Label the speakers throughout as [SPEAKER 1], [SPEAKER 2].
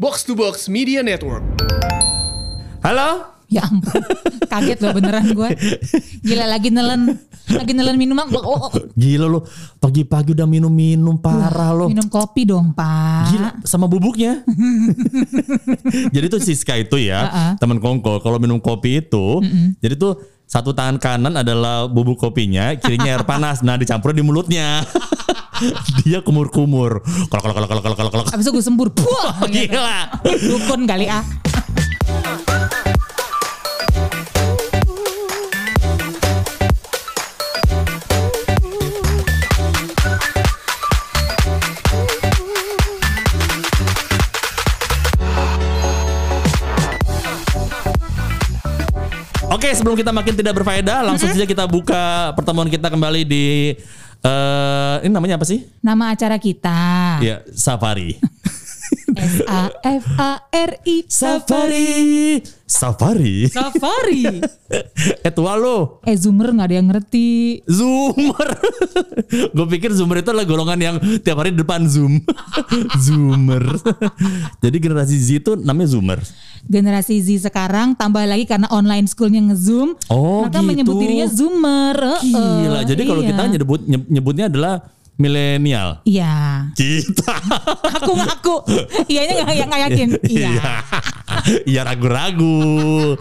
[SPEAKER 1] Box to Box Media Network.
[SPEAKER 2] Halo?
[SPEAKER 3] Ya ampun, kaget loh beneran gue. Gila lagi nelen, lagi nelen minuman. Oh, oh, oh.
[SPEAKER 2] Gila lo, pagi-pagi udah minum-minum parah lo.
[SPEAKER 3] Minum kopi dong pak.
[SPEAKER 2] Gila, sama bubuknya. jadi tuh Siska itu ya,
[SPEAKER 3] Ah, ah.
[SPEAKER 2] teman kongkol kalau minum kopi itu, jadi tuh satu tangan kanan adalah bubuk kopinya, kirinya air panas. Nah, dicampur di mulutnya. Dia kumur-kumur. Kalau kalau kalau kalau kalau kalau kalau.
[SPEAKER 3] Abis itu
[SPEAKER 2] Oh,
[SPEAKER 3] gue sembur. Puah, gitu.
[SPEAKER 2] Gila.
[SPEAKER 3] Dukun kali ah.
[SPEAKER 2] Oke, sebelum kita makin tidak berfaedah, langsung saja kita buka pertemuan kita kembali di eh ini namanya apa sih?
[SPEAKER 3] Nama acara kita.
[SPEAKER 2] Ya, Safari.
[SPEAKER 3] S A F A R I
[SPEAKER 2] Safari. Safari.
[SPEAKER 3] Safari.
[SPEAKER 2] eh tua lo.
[SPEAKER 3] eh zoomer nggak ada yang ngerti.
[SPEAKER 2] Zoomer. Gue pikir Zoomer itu adalah golongan yang tiap hari di depan Zoom. Zoomer. Jadi generasi Z itu namanya Zoomer.
[SPEAKER 3] Generasi Z sekarang tambah lagi karena online schoolnya ngezoom.
[SPEAKER 2] Oh,
[SPEAKER 3] maka
[SPEAKER 2] gitu.
[SPEAKER 3] menyebut dirinya zoomer. Eh,
[SPEAKER 2] Gila.
[SPEAKER 3] eh,
[SPEAKER 2] Jadi kalau
[SPEAKER 3] iya.
[SPEAKER 2] kita nyebut nyeb- nyebutnya adalah milenial.
[SPEAKER 3] Iya.
[SPEAKER 2] Kita.
[SPEAKER 3] Aku ngaku. Iyanya nggak nggak yakin. Iya.
[SPEAKER 2] Iya ragu-ragu.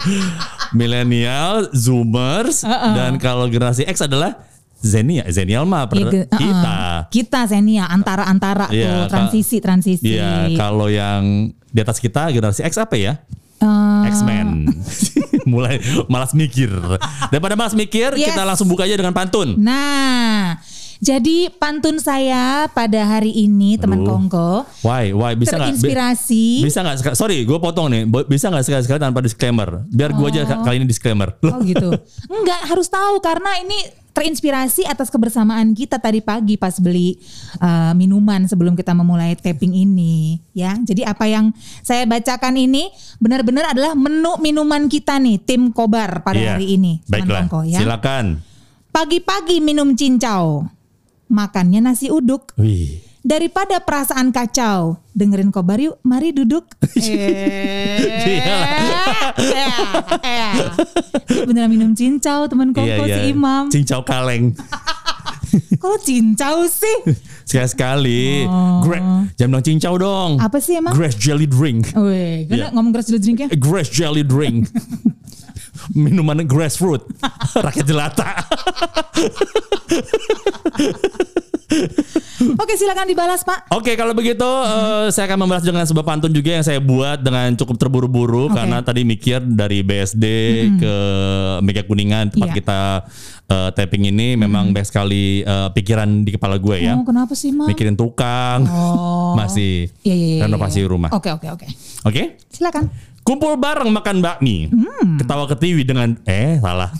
[SPEAKER 2] milenial, Zoomers,
[SPEAKER 3] Uh-uh.
[SPEAKER 2] dan kalau generasi X adalah Zenia, Zenial mah
[SPEAKER 3] Iya,
[SPEAKER 2] per-
[SPEAKER 3] ge- uh-uh.
[SPEAKER 2] kita.
[SPEAKER 3] Kita senia antara-antara
[SPEAKER 2] Iya,
[SPEAKER 3] tuh
[SPEAKER 2] Kak.
[SPEAKER 3] transisi transisi.
[SPEAKER 2] Iya, kalau yang di atas kita generasi X apa ya?
[SPEAKER 3] Eh,
[SPEAKER 2] X-Men. Mulai malas mikir. Daripada malas mikir,
[SPEAKER 3] Yes.
[SPEAKER 2] kita langsung buka aja dengan pantun.
[SPEAKER 3] nah, jadi pantun saya pada hari ini
[SPEAKER 2] Aduh.
[SPEAKER 3] teman Kongko
[SPEAKER 2] Why? Why bisa nggak? bi-
[SPEAKER 3] terinspirasi.
[SPEAKER 2] Bisa nggak? seka- Sorry, gue potong nih. Bo- Bisa nggak sekali-sekali tanpa disclaimer? Biar gue aja ka- kali ini disclaimer. Loh,
[SPEAKER 3] Oh gitu. Enggak harus tahu karena ini terinspirasi atas kebersamaan kita tadi pagi pas beli uh, minuman sebelum kita memulai taping ini ya. Jadi apa yang saya bacakan ini benar-benar adalah menu minuman kita nih tim Kobar pada
[SPEAKER 2] Iya.
[SPEAKER 3] hari ini. teman
[SPEAKER 2] Baiklah.
[SPEAKER 3] Kongko, ya.
[SPEAKER 2] Silakan.
[SPEAKER 3] Pagi-pagi minum cincau. Makannya nasi uduk.
[SPEAKER 2] Wih.
[SPEAKER 3] Daripada perasaan kacau, dengerin kobar yuk, mari duduk. eh, eh, eh. Dia beneran minum cincau teman
[SPEAKER 2] Iya,
[SPEAKER 3] kongko si Imam.
[SPEAKER 2] Cincau kaleng.
[SPEAKER 3] Kalau cincau sih,
[SPEAKER 2] Sekali-sekali.
[SPEAKER 3] Oh.
[SPEAKER 2] Grape. Jangan bilang cincau dong.
[SPEAKER 3] apa sih emang?
[SPEAKER 2] Grape jelly drink.
[SPEAKER 3] Weh, gue
[SPEAKER 2] Iya.
[SPEAKER 3] ngomong keras dulu ya. drinknya.
[SPEAKER 2] Grass jelly drink. Minuman grassroot. Rakyat jelata.
[SPEAKER 3] Oke silakan dibalas pak.
[SPEAKER 2] Oke, kalau begitu eh, saya akan membahas dengan sebuah pantun juga yang saya buat dengan cukup terburu-buru
[SPEAKER 3] Oke.
[SPEAKER 2] karena tadi mikir dari BSD ke Mega Kuningan tempat
[SPEAKER 3] Iya.
[SPEAKER 2] kita eh, tapping ini memang banyak sekali eh, pikiran di kepala gue ya.
[SPEAKER 3] Oh, kenapa sih Mam?
[SPEAKER 2] Mikirin tukang.
[SPEAKER 3] Oh.
[SPEAKER 2] Masih
[SPEAKER 3] Iya, iya, iya,
[SPEAKER 2] renovasi
[SPEAKER 3] iya.
[SPEAKER 2] rumah. Oke.
[SPEAKER 3] Oke oke oke. Silakan.
[SPEAKER 2] Kumpul bareng makan bakmi.
[SPEAKER 3] Mm.
[SPEAKER 2] Ketawa ketiwi dengan eh salah.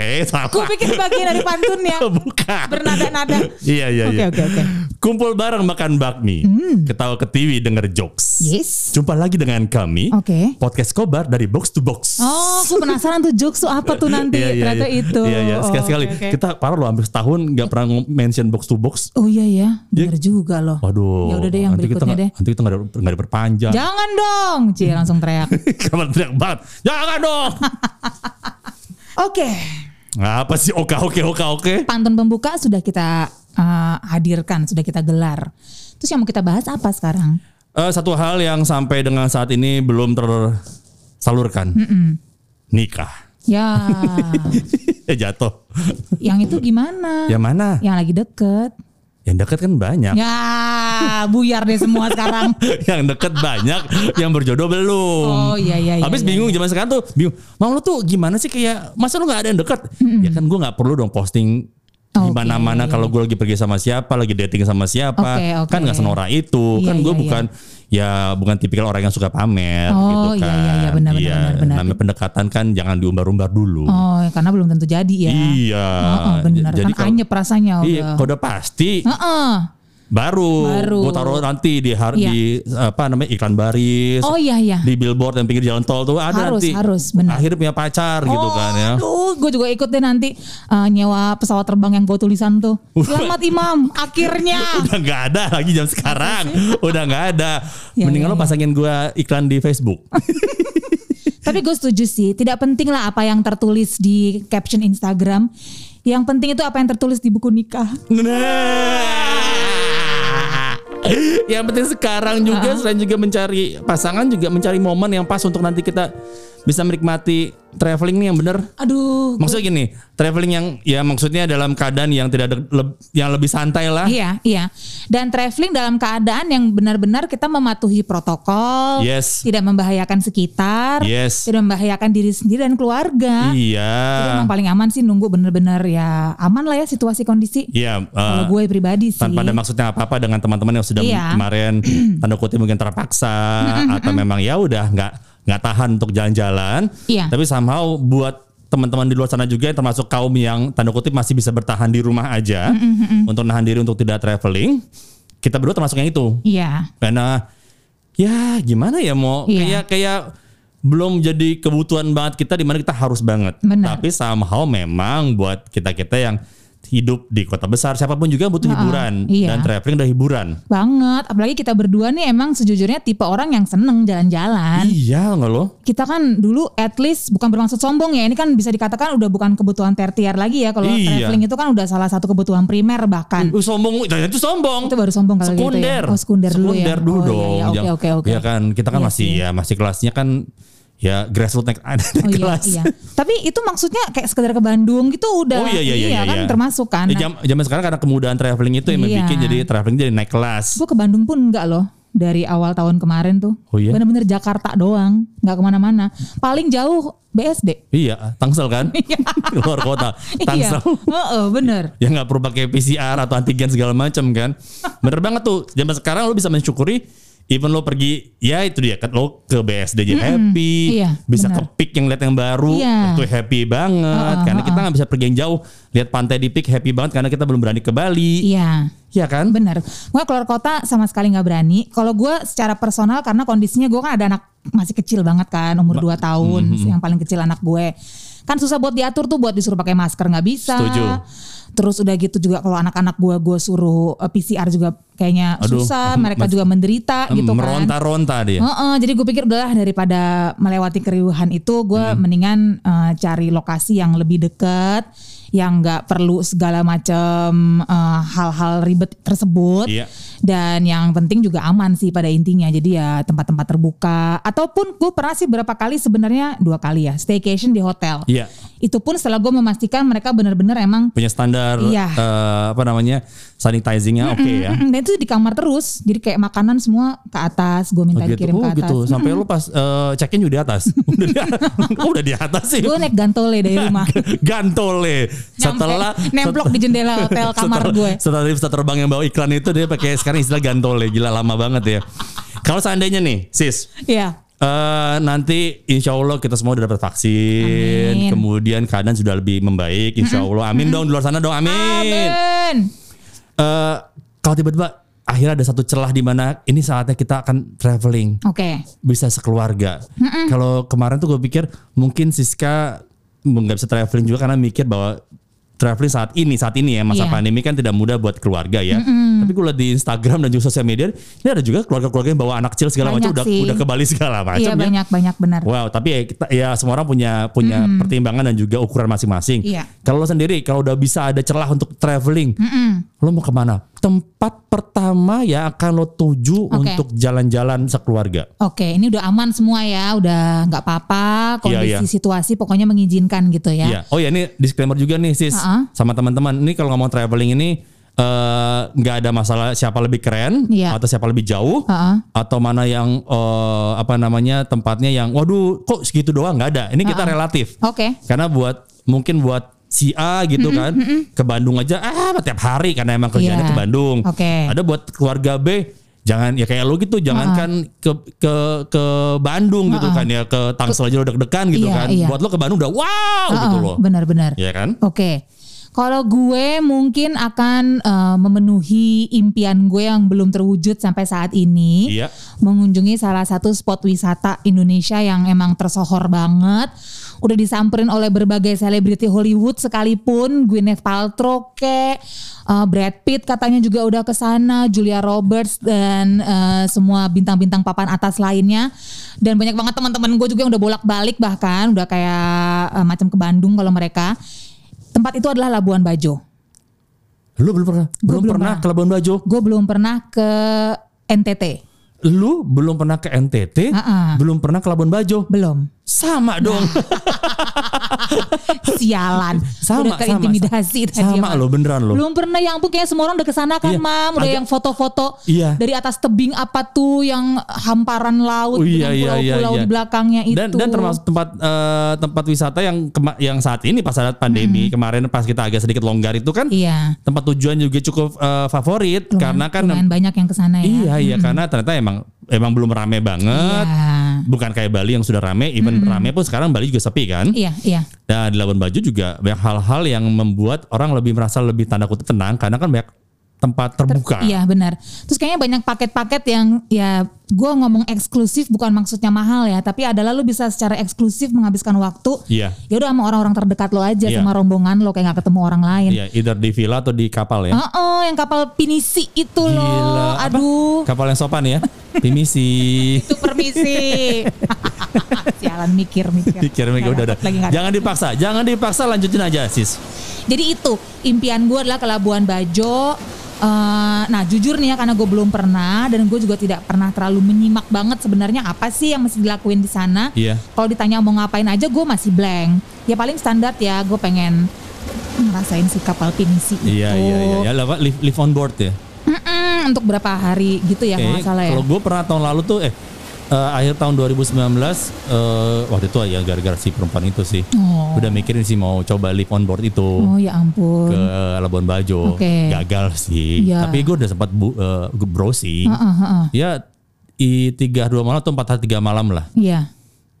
[SPEAKER 2] eh salah.
[SPEAKER 3] Gue pikir bagian dari pantun ya.
[SPEAKER 2] Bukan.
[SPEAKER 3] Bernada-nada.
[SPEAKER 2] Iya iya
[SPEAKER 3] Oke
[SPEAKER 2] iya.
[SPEAKER 3] oke Hmm. oke.
[SPEAKER 2] Kumpul bareng makan bakmi, ketawa ketiwi denger jokes.
[SPEAKER 3] Yes.
[SPEAKER 2] Jumpa lagi dengan kami,
[SPEAKER 3] Oke.
[SPEAKER 2] podcast Kobar dari Box to Box.
[SPEAKER 3] Oh, gue penasaran tuh jokes tuh apa tuh nanti
[SPEAKER 2] Iya, iya,
[SPEAKER 3] ternyata
[SPEAKER 2] iya.
[SPEAKER 3] itu.
[SPEAKER 2] Iya iya, sekali sekali.
[SPEAKER 3] Oh, oke, oke.
[SPEAKER 2] Kita parah loh hampir setahun nggak pernah ngom- mention Box to Box.
[SPEAKER 3] Oh iya ya,
[SPEAKER 2] Dia-
[SPEAKER 3] bener juga loh.
[SPEAKER 2] Waduh.
[SPEAKER 3] Ya udah deh yang
[SPEAKER 2] nanti kita
[SPEAKER 3] berikutnya
[SPEAKER 2] nggak-
[SPEAKER 3] deh.
[SPEAKER 2] Nanti kita nggak ada- nggak diperpanjang.
[SPEAKER 3] Jangan dong,
[SPEAKER 2] Hmm.
[SPEAKER 3] Cie langsung teriak.
[SPEAKER 2] Kabar teriak banget. Jangan dong.
[SPEAKER 3] Oke,
[SPEAKER 2] Apa sih? Oke oke oke oke.
[SPEAKER 3] pantun pembuka sudah kita eh, hadirkan, sudah kita gelar. Terus yang mau kita bahas apa sekarang?
[SPEAKER 2] Eh, satu hal yang sampai dengan saat ini belum tersalurkan. Nikah.
[SPEAKER 3] Ya,
[SPEAKER 2] Eh jatuh.
[SPEAKER 3] yang itu gimana?
[SPEAKER 2] Yang mana?
[SPEAKER 3] Yang lagi deket?
[SPEAKER 2] Yang dekat kan banyak.
[SPEAKER 3] Ya, buyar deh semua sekarang.
[SPEAKER 2] yang deket banyak, yang berjodoh belum.
[SPEAKER 3] Oh, iya, iya, iya,
[SPEAKER 2] Habis
[SPEAKER 3] iya,
[SPEAKER 2] bingung zaman sekarang tuh, bingung. Mau lu tuh gimana sih kayak masa lu nggak ada yang deket? Ya kan gue nggak perlu dong posting
[SPEAKER 3] Oke.
[SPEAKER 2] gimana mana kalau gue lagi pergi sama siapa, lagi dating sama siapa,
[SPEAKER 3] Oke, oke.
[SPEAKER 2] kan nggak senora itu.
[SPEAKER 3] Iya,
[SPEAKER 2] kan gue
[SPEAKER 3] iya,
[SPEAKER 2] bukan ya bukan tipikal orang yang suka pamer
[SPEAKER 3] Oh,
[SPEAKER 2] gitu
[SPEAKER 3] iya,
[SPEAKER 2] kan.
[SPEAKER 3] iya, iya, benar, benar, benar, benar.
[SPEAKER 2] namanya pendekatan kan jangan diumbar-umbar dulu.
[SPEAKER 3] Oh, ya, karena belum tentu jadi ya.
[SPEAKER 2] Iya.
[SPEAKER 3] Oh, oh, benar.
[SPEAKER 2] Jadi
[SPEAKER 3] Kan
[SPEAKER 2] kalau-
[SPEAKER 3] anyep rasanya.
[SPEAKER 2] Iya,
[SPEAKER 3] udah.
[SPEAKER 2] kode pasti
[SPEAKER 3] Heeh.
[SPEAKER 2] Baru,
[SPEAKER 3] Baru.
[SPEAKER 2] gue taruh nanti di har-
[SPEAKER 3] Iya.
[SPEAKER 2] di apa namanya iklan baris,
[SPEAKER 3] Oh iya iya.
[SPEAKER 2] di billboard yang pinggir jalan tol tuh ada
[SPEAKER 3] Harus,
[SPEAKER 2] nanti.
[SPEAKER 3] harus, benar. Oh.
[SPEAKER 2] Akhirnya punya pacar gitu kan ya.
[SPEAKER 3] Aduh, gue juga ikut deh nanti eh, nyewa pesawat terbang yang gue tulisan tuh. Selamat Imam, akhirnya.
[SPEAKER 2] Udah nggak ada lagi jam sekarang, udah nggak ada.
[SPEAKER 3] Ya,
[SPEAKER 2] Mendingan
[SPEAKER 3] ya,
[SPEAKER 2] lo
[SPEAKER 3] ya.
[SPEAKER 2] pasangin gua iklan di Facebook.
[SPEAKER 3] Tapi gue setuju sih, tidak penting lah apa yang tertulis di caption Instagram. Yang penting itu apa yang tertulis di buku nikah.
[SPEAKER 2] Nah. Yang penting sekarang juga selain juga mencari pasangan juga mencari momen yang pas untuk nanti kita bisa menikmati traveling nih yang bener.
[SPEAKER 3] Aduh, gua-
[SPEAKER 2] Maksudnya gini, traveling yang ya maksudnya dalam keadaan yang tidak ada leb- yang lebih santai lah.
[SPEAKER 3] Iya, iya. Dan traveling dalam keadaan yang benar-benar kita mematuhi protokol,
[SPEAKER 2] Yes.
[SPEAKER 3] tidak membahayakan sekitar,
[SPEAKER 2] Yes.
[SPEAKER 3] tidak membahayakan diri sendiri dan keluarga.
[SPEAKER 2] Iya.
[SPEAKER 3] Jadi memang paling aman sih nunggu benar-benar ya aman lah ya situasi kondisi.
[SPEAKER 2] Iya, eh,
[SPEAKER 3] Kalau gue pribadi sih.
[SPEAKER 2] tanpa ada maksudnya apa-apa dengan teman-teman yang sudah
[SPEAKER 3] Iya.
[SPEAKER 2] kemarin tanda kutip mungkin terpaksa atau memang ya udah nggak nggak tahan untuk jalan-jalan.
[SPEAKER 3] Iya.
[SPEAKER 2] Tapi somehow buat teman-teman di luar sana juga yang termasuk kaum yang tanda kutip masih bisa bertahan di rumah aja untuk nahan diri untuk tidak traveling, kita berdua termasuk yang itu.
[SPEAKER 3] Iya.
[SPEAKER 2] Karena ya gimana ya mau
[SPEAKER 3] Iya.
[SPEAKER 2] kayak kayak belum jadi kebutuhan banget kita di mana kita harus banget.
[SPEAKER 3] Benar.
[SPEAKER 2] Tapi somehow memang buat kita-kita yang hidup di kota besar siapapun juga butuh hiburan
[SPEAKER 3] iya.
[SPEAKER 2] dan traveling udah hiburan.
[SPEAKER 3] Banget, apalagi kita berdua nih emang sejujurnya tipe orang yang seneng jalan-jalan.
[SPEAKER 2] Iya nggak lo?
[SPEAKER 3] Kita kan dulu at least bukan bermaksud sombong ya, ini kan bisa dikatakan udah bukan kebutuhan tertier lagi ya kalau
[SPEAKER 2] Iya.
[SPEAKER 3] traveling itu kan udah salah satu kebutuhan primer bahkan.
[SPEAKER 2] Uh, sombong, jangan itu sombong.
[SPEAKER 3] Itu baru sombong kalau gitu ya.
[SPEAKER 2] sekunder.
[SPEAKER 3] Oh, sekunder dulu ya.
[SPEAKER 2] Sekunder dulu
[SPEAKER 3] Oh, iya,
[SPEAKER 2] dong.
[SPEAKER 3] iya, oke,
[SPEAKER 2] Jangan-
[SPEAKER 3] oke, oke.
[SPEAKER 2] Ya kan kita kan
[SPEAKER 3] Iya
[SPEAKER 2] masih
[SPEAKER 3] sih.
[SPEAKER 2] ya masih kelasnya kan ya grassroots naik, naik
[SPEAKER 3] Oh iya,
[SPEAKER 2] kelas.
[SPEAKER 3] iya. Tapi itu maksudnya kayak sekedar ke Bandung gitu udah.
[SPEAKER 2] Oh iya iya iya,
[SPEAKER 3] kan
[SPEAKER 2] iya.
[SPEAKER 3] termasuk kan.
[SPEAKER 2] Ya, jam- zaman sekarang karena kemudahan traveling itu yang
[SPEAKER 3] Iya.
[SPEAKER 2] bikin jadi traveling jadi naik kelas.
[SPEAKER 3] Gue ke Bandung pun enggak loh dari awal tahun kemarin tuh.
[SPEAKER 2] Oh iya?
[SPEAKER 3] Bener-bener Jakarta doang, nggak kemana-mana. Paling jauh BSD.
[SPEAKER 2] Iya, Tangsel kan? Luar kota, Tangsel.
[SPEAKER 3] Iya, Heeh, bener.
[SPEAKER 2] Yang nggak perlu pakai PCR atau antigen segala macam kan? Bener banget tuh. Zaman sekarang lo bisa mensyukuri even lo pergi ya itu dia kan lo ke BSD aja happy
[SPEAKER 3] iya,
[SPEAKER 2] bisa
[SPEAKER 3] benar.
[SPEAKER 2] ke peak yang lihat yang baru
[SPEAKER 3] Iya.
[SPEAKER 2] itu happy banget
[SPEAKER 3] Heeh,
[SPEAKER 2] karena kita nggak bisa pergi yang jauh lihat pantai di peak happy banget karena kita belum berani ke Bali
[SPEAKER 3] Iya.
[SPEAKER 2] Iya kan
[SPEAKER 3] Bener. Gue keluar kota sama sekali nggak berani. Kalau gue secara personal karena kondisinya gue kan ada anak masih kecil banget kan, umur 2
[SPEAKER 2] mm-hmm.
[SPEAKER 3] tahun, yang paling kecil anak gue. Kan susah buat diatur tuh, buat disuruh pakai masker nggak bisa.
[SPEAKER 2] Setuju.
[SPEAKER 3] Terus udah gitu juga kalau anak-anak gue gue suruh eh, PCR juga kayaknya
[SPEAKER 2] Aduh, Mm-hmm.
[SPEAKER 3] susah,
[SPEAKER 2] em-
[SPEAKER 3] mereka
[SPEAKER 2] mas-
[SPEAKER 3] juga menderita gitu kan.
[SPEAKER 2] meronta-ronta dia
[SPEAKER 3] Heeh, jadi gue pikir udahlah daripada melewati keriuhan itu, gue mendingan eh, cari lokasi yang lebih dekat, yang nggak perlu segala macam eh, hal-hal ribet tersebut,
[SPEAKER 2] Iya.
[SPEAKER 3] dan yang penting juga aman sih pada intinya. Jadi ya tempat-tempat terbuka, ataupun gue pernah sih berapa kali sebenarnya dua kali ya staycation di hotel.
[SPEAKER 2] Iya.
[SPEAKER 3] Itu pun setelah gue memastikan mereka benar-benar emang
[SPEAKER 2] punya standar
[SPEAKER 3] Iya.
[SPEAKER 2] eh, apa namanya sanitizingnya oke ya
[SPEAKER 3] Mm, dan itu di kamar terus, jadi kayak makanan semua ke atas, gue
[SPEAKER 2] Oh
[SPEAKER 3] minta
[SPEAKER 2] gitu,
[SPEAKER 3] dikirim
[SPEAKER 2] oh
[SPEAKER 3] ke atas.
[SPEAKER 2] gitu. Sampai lu pas eh, check-in udah di atas. udah di atas. Kok udah di atas sih.
[SPEAKER 3] Gue naik gantole dari rumah.
[SPEAKER 2] Gantole.
[SPEAKER 3] Nyampe,
[SPEAKER 2] Setelah
[SPEAKER 3] nemplok di jendela hotel kamar
[SPEAKER 2] setelah-
[SPEAKER 3] gue.
[SPEAKER 2] Setelah bisa terbang yang bawa iklan itu dia pakai sekarang istilah gantole. Gila lama banget ya. Kalau seandainya nih, sis,
[SPEAKER 3] Iya.
[SPEAKER 2] eh nanti insya Allah kita semua udah dapat vaksin,
[SPEAKER 3] Amin.
[SPEAKER 2] kemudian keadaan sudah lebih membaik, insya Allah. Amin dong di luar sana dong, amin.
[SPEAKER 3] Amin.
[SPEAKER 2] Eh, kalau tiba-tiba akhirnya ada satu celah di mana ini saatnya kita akan traveling
[SPEAKER 3] Oke.
[SPEAKER 2] bisa sekeluarga. Kalau kemarin tuh gue pikir mungkin Siska nggak bisa traveling juga karena mikir bahwa traveling saat ini saat ini ya masa
[SPEAKER 3] Iya.
[SPEAKER 2] pandemi kan tidak mudah buat keluarga ya. Tapi gue lihat di Instagram dan juga sosial media ini ada juga keluarga-keluarga yang bawa anak kecil segala
[SPEAKER 3] Banyak
[SPEAKER 2] macam udah
[SPEAKER 3] sih.
[SPEAKER 2] udah ke Bali segala macam. ya.
[SPEAKER 3] Iya banyak-banyak benar.
[SPEAKER 2] Wow, tapi ya, kita, ya semua orang punya punya pertimbangan dan juga ukuran masing-masing.
[SPEAKER 3] Iya.
[SPEAKER 2] Kalau lo sendiri, kalau udah bisa ada celah untuk traveling, lo mau kemana? Tempat pertama yang akan lo tuju
[SPEAKER 3] Oke.
[SPEAKER 2] untuk jalan-jalan sekeluarga.
[SPEAKER 3] Oke, ini udah aman semua ya, udah nggak apa-apa, kondisi
[SPEAKER 2] Iya, iya.
[SPEAKER 3] situasi pokoknya mengizinkan gitu ya.
[SPEAKER 2] Iya. Oh ya ini disclaimer juga nih sis
[SPEAKER 3] Ha-ha.
[SPEAKER 2] sama teman-teman. Ini kalau ngomong traveling ini eh, nggak ada masalah siapa lebih keren
[SPEAKER 3] Iya.
[SPEAKER 2] atau siapa lebih jauh
[SPEAKER 3] Ha-ha.
[SPEAKER 2] atau mana yang eh, apa namanya tempatnya yang waduh kok segitu doang nggak ada. Ini kita relatif.
[SPEAKER 3] Oke.
[SPEAKER 2] Karena buat mungkin buat si A gitu kan ke Bandung aja ah tiap hari karena emang kerjanya
[SPEAKER 3] Iya.
[SPEAKER 2] ke Bandung.
[SPEAKER 3] Oke.
[SPEAKER 2] Ada buat keluarga B jangan ya kayak lo gitu jangankan ke ke ke Bandung gitu kan ya ke Tangsel aja lo deg-degan gitu
[SPEAKER 3] Iya,
[SPEAKER 2] kan.
[SPEAKER 3] iya.
[SPEAKER 2] Buat lo ke Bandung udah wow gitu
[SPEAKER 3] Heeh,
[SPEAKER 2] loh.
[SPEAKER 3] Benar-benar.
[SPEAKER 2] Iya kan?
[SPEAKER 3] Oke. Kalau gue mungkin akan eh, memenuhi impian gue yang belum terwujud sampai saat ini.
[SPEAKER 2] Iya.
[SPEAKER 3] Mengunjungi salah satu spot wisata Indonesia yang emang tersohor banget. Udah disamperin oleh berbagai selebriti Hollywood sekalipun. Gwyneth Paltrow ke eh, Brad Pitt katanya juga udah ke sana, Julia Roberts dan eh, semua bintang-bintang papan atas lainnya. Dan banyak banget teman-teman gue juga yang udah bolak-balik bahkan udah kayak eh, macam ke Bandung kalau mereka. Tempat itu adalah Labuan Bajo.
[SPEAKER 2] Lu belum pernah belum,
[SPEAKER 3] belum
[SPEAKER 2] pernah
[SPEAKER 3] pernah.
[SPEAKER 2] ke Labuan Bajo.
[SPEAKER 3] Gue belum pernah ke NTT.
[SPEAKER 2] Lu belum pernah ke NTT,
[SPEAKER 3] Ah-ah.
[SPEAKER 2] belum pernah ke Labuan Bajo.
[SPEAKER 3] Belum.
[SPEAKER 2] Sama dong.
[SPEAKER 3] Sialan.
[SPEAKER 2] sama
[SPEAKER 3] udah keintimidasi
[SPEAKER 2] sama, sama
[SPEAKER 3] Mam.
[SPEAKER 2] lo beneran lo.
[SPEAKER 3] Belum pernah yang ampun kayaknya semua orang udah kesana kan
[SPEAKER 2] Iya,
[SPEAKER 3] mam Udah
[SPEAKER 2] agak-
[SPEAKER 3] yang foto-foto
[SPEAKER 2] Iya.
[SPEAKER 3] dari atas tebing apa tuh yang hamparan laut
[SPEAKER 2] Oh,
[SPEAKER 3] dengan pulau-pulau di belakangnya itu.
[SPEAKER 2] Dan dan termasuk tempat eh, tempat wisata yang kema- yang saat ini pas saat pandemi kemarin pas kita agak sedikit longgar itu kan
[SPEAKER 3] Mm-hmm. Iya.
[SPEAKER 2] tempat tujuan juga cukup eh, favorit
[SPEAKER 3] Lumayan,
[SPEAKER 2] karena kan
[SPEAKER 3] lumayan banyak yang kesana ya.
[SPEAKER 2] iya iya karena ternyata emang emang belum rame banget.
[SPEAKER 3] Iya. Mm-hmm.
[SPEAKER 2] Bukan kayak Bali yang sudah rame, even rame pun sekarang Bali juga sepi kan.
[SPEAKER 3] Iya, iya.
[SPEAKER 2] Nah di Labuan Bajo juga banyak hal-hal yang membuat orang lebih merasa lebih tanda kutip tenang karena kan banyak tempat terbuka.
[SPEAKER 3] Iya benar. Terus kayaknya banyak paket-paket yang ya gue ngomong eksklusif bukan maksudnya mahal ya, tapi adalah lu bisa secara eksklusif menghabiskan waktu.
[SPEAKER 2] Iya.
[SPEAKER 3] Ya udah sama orang-orang terdekat lo aja,
[SPEAKER 2] Iya.
[SPEAKER 3] sama rombongan lo kayak nggak ketemu orang lain.
[SPEAKER 2] Iya, either di villa atau di kapal ya.
[SPEAKER 3] Oh, oh, yang kapal pinisi itu
[SPEAKER 2] Gila,
[SPEAKER 3] loh.
[SPEAKER 2] apa?
[SPEAKER 3] Aduh,
[SPEAKER 2] Kapal yang sopan ya. Permisi.
[SPEAKER 3] itu permisi. Sialan mikir-mikir.
[SPEAKER 2] Dikira mikir udah udah.
[SPEAKER 3] Lagi Ya. nggak
[SPEAKER 2] Jangan dipaksa, jangan dipaksa lanjutin aja, Sis.
[SPEAKER 3] Jadi itu impian gue adalah ke Labuan Bajo. Eh, nah jujur nih ya karena gue belum pernah dan gue juga tidak pernah terlalu menyimak banget sebenarnya apa sih yang mesti dilakuin di sana.
[SPEAKER 2] Iya.
[SPEAKER 3] Kalau ditanya mau ngapain aja gue masih blank. Ya paling standar ya gue pengen ngerasain si kapal pinisi itu.
[SPEAKER 2] Iya, iya,
[SPEAKER 3] Oh.
[SPEAKER 2] iya. Ya, apa, live, live on board ya.
[SPEAKER 3] Mm-mm, untuk berapa hari gitu ya kalau
[SPEAKER 2] Eh,
[SPEAKER 3] nggak salah ya.
[SPEAKER 2] Kalau gue pernah tahun lalu tuh eh eh, akhir tahun 2019 eh waktu itu ya gara-gara si perempuan itu sih.
[SPEAKER 3] Oh.
[SPEAKER 2] Udah mikirin sih mau coba live on board itu.
[SPEAKER 3] Oh ya ampun.
[SPEAKER 2] ke Labuan Bajo
[SPEAKER 3] Oke.
[SPEAKER 2] gagal sih
[SPEAKER 3] Iya.
[SPEAKER 2] tapi gue udah sempat bu, eh, browsing
[SPEAKER 3] Heeh, heeh.
[SPEAKER 2] ya i tiga dua malam atau empat hari tiga malam lah
[SPEAKER 3] Iya.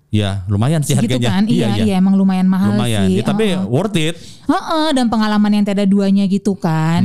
[SPEAKER 2] ya lumayan sih
[SPEAKER 3] Segitu
[SPEAKER 2] harganya
[SPEAKER 3] kan? Iya, iya, emang lumayan mahal
[SPEAKER 2] lumayan
[SPEAKER 3] sih.
[SPEAKER 2] Ya, tapi
[SPEAKER 3] Heeh.
[SPEAKER 2] worth it
[SPEAKER 3] Heeh, dan pengalaman yang tiada duanya gitu kan.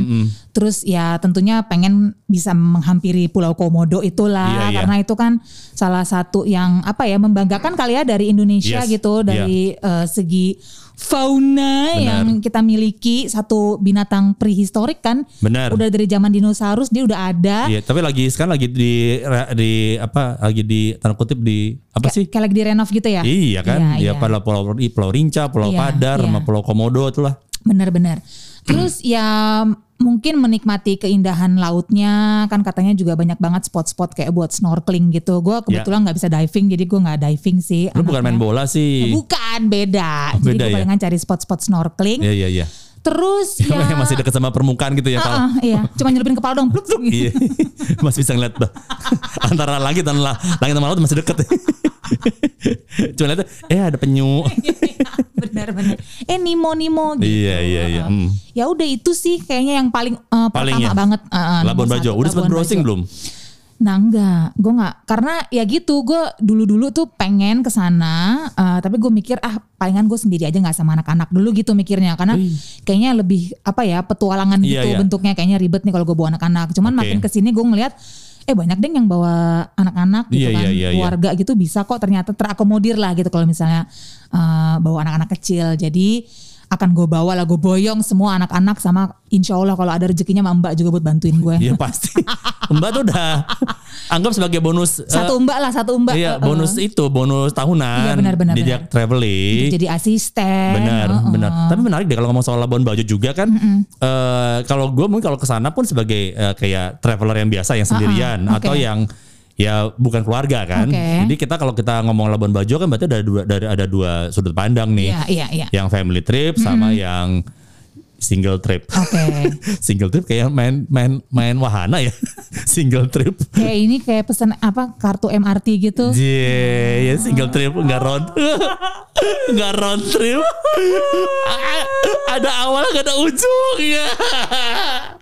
[SPEAKER 3] Terus ya tentunya pengen bisa menghampiri Pulau Komodo
[SPEAKER 2] Iya,
[SPEAKER 3] itulah
[SPEAKER 2] iya.
[SPEAKER 3] karena itu kan salah satu yang apa ya membanggakan kali ya dari Indonesia
[SPEAKER 2] Yes, Iya.
[SPEAKER 3] gitu dari eh, segi fauna
[SPEAKER 2] Benar.
[SPEAKER 3] yang kita miliki satu binatang prehistorik kan.
[SPEAKER 2] benar
[SPEAKER 3] Udah dari zaman dinosaurus dia udah ada.
[SPEAKER 2] Iya, tapi lagi sekarang lagi di di apa lagi di tanda kutip di apa
[SPEAKER 3] Kayak-
[SPEAKER 2] sih?
[SPEAKER 3] Kayak lagi direnov gitu ya.
[SPEAKER 2] Iya kan?
[SPEAKER 3] Iya,
[SPEAKER 2] Dia
[SPEAKER 3] iya.
[SPEAKER 2] pada pulau Pulau Rinca, Pulau
[SPEAKER 3] Iya,
[SPEAKER 2] Padar,
[SPEAKER 3] iya.
[SPEAKER 2] sama Pulau Komodo itulah.
[SPEAKER 3] Benar-benar. Terus ya mungkin menikmati keindahan lautnya kan katanya juga banyak banget spot-spot kayak buat snorkeling gitu. Gue kebetulan nggak bisa diving jadi gue nggak diving sih.
[SPEAKER 2] Ya. Lu bukan main
[SPEAKER 3] anaknya.
[SPEAKER 2] bola sih.
[SPEAKER 3] Eh, Bukan beda.
[SPEAKER 2] Oh,
[SPEAKER 3] jadi
[SPEAKER 2] beda
[SPEAKER 3] gue
[SPEAKER 2] ya?
[SPEAKER 3] palingan cari spot-spot snorkeling.
[SPEAKER 2] Iya iya iya.
[SPEAKER 3] Terus ya.
[SPEAKER 2] Yang masih dekat sama permukaan gitu ya
[SPEAKER 3] Ah,
[SPEAKER 2] kalau.
[SPEAKER 3] ah, iya, cuma nyelupin kepala dong. Plup, plup, gitu.
[SPEAKER 2] Iya. Masih bisa ngeliat bah. antara langit dan la- langit sama laut masih deket. Cuma lihat eh ada penyu.
[SPEAKER 3] Iya, Benar-benar. Eh Nimo Nimo gitu.
[SPEAKER 2] iya iya iya. Hmm.
[SPEAKER 3] Ya udah itu sih kayaknya yang paling eh,
[SPEAKER 2] Paling
[SPEAKER 3] pertama
[SPEAKER 2] ya?
[SPEAKER 3] banget. eh, eh, nomor
[SPEAKER 2] Labuan Bajo.
[SPEAKER 3] satu,
[SPEAKER 2] Udah sempat
[SPEAKER 3] Labuan
[SPEAKER 2] browsing
[SPEAKER 3] Bajo.
[SPEAKER 2] belum?
[SPEAKER 3] Nah enggak, gue nggak karena ya gitu gue dulu-dulu tuh pengen ke sana, eh, tapi gue mikir ah palingan gue sendiri aja nggak sama anak-anak dulu gitu mikirnya karena kayaknya lebih apa ya petualangan
[SPEAKER 2] Iya,
[SPEAKER 3] gitu
[SPEAKER 2] iya.
[SPEAKER 3] bentuknya kayaknya ribet nih kalau gue bawa anak-anak. Cuman
[SPEAKER 2] Oke.
[SPEAKER 3] makin kesini gue ngeliat eh banyak deh yang bawa anak-anak gitu
[SPEAKER 2] Iya,
[SPEAKER 3] kan
[SPEAKER 2] iya, iya, iya.
[SPEAKER 3] keluarga gitu bisa kok ternyata terakomodir lah gitu kalau misalnya eh, bawa anak-anak kecil. Jadi akan gue bawa lah gue boyong semua anak-anak sama insya Allah kalau ada rezekinya sama mbak juga buat bantuin gue.
[SPEAKER 2] Iya pasti. Mbak tuh udah anggap sebagai bonus eh,
[SPEAKER 3] Satu mbak lah, satu mbak.
[SPEAKER 2] Iya,
[SPEAKER 3] Eh, eh.
[SPEAKER 2] bonus itu, bonus tahunan.
[SPEAKER 3] Iya, benar, benar,
[SPEAKER 2] Diajak traveling.
[SPEAKER 3] Untuk jadi asisten. Oh,
[SPEAKER 2] benar,
[SPEAKER 3] Heeh.
[SPEAKER 2] benar. Tapi menarik deh kalau ngomong soal Labuan Bajo juga kan. eh, kalau gue mungkin kalau kesana pun sebagai eh, kayak traveler yang biasa, yang sendirian
[SPEAKER 3] oke.
[SPEAKER 2] atau yang ya bukan keluarga kan.
[SPEAKER 3] Oke.
[SPEAKER 2] Jadi kita kalau kita ngomong Labuan Bajo kan berarti ada dua, ada, ada dua sudut pandang nih.
[SPEAKER 3] Iya, iya, iya.
[SPEAKER 2] Yang family trip sama yang single trip.
[SPEAKER 3] Oke.
[SPEAKER 2] single trip kayak main main main wahana ya. single trip.
[SPEAKER 3] kayak ini kayak pesan apa kartu MRT gitu.
[SPEAKER 2] Iya. Jee, ya single trip nggak round, nggak round trip. A- ada awal nggak ada ujung ya.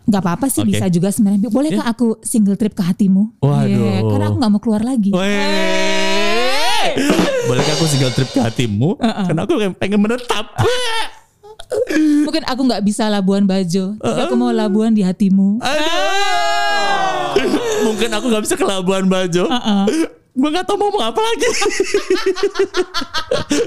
[SPEAKER 3] Gak apa-apa sih
[SPEAKER 2] Oke. Iya.
[SPEAKER 3] bisa juga sebenarnya. Bolehkah aku single trip ke hatimu?
[SPEAKER 2] Waduh.
[SPEAKER 3] Iya, karena aku gak mau keluar lagi.
[SPEAKER 2] Weh, bolehkah aku single trip ke hatimu? Karena aku pengen menetap.
[SPEAKER 3] Mungkin aku nggak bisa Labuan Bajo. Tapi aku
[SPEAKER 2] Ah.
[SPEAKER 3] mau Labuan di hatimu.
[SPEAKER 2] Aduh. Mungkin aku nggak bisa ke Labuan Bajo.
[SPEAKER 3] Heeh.
[SPEAKER 2] Gue nggak tahu mau ngomong apa lagi.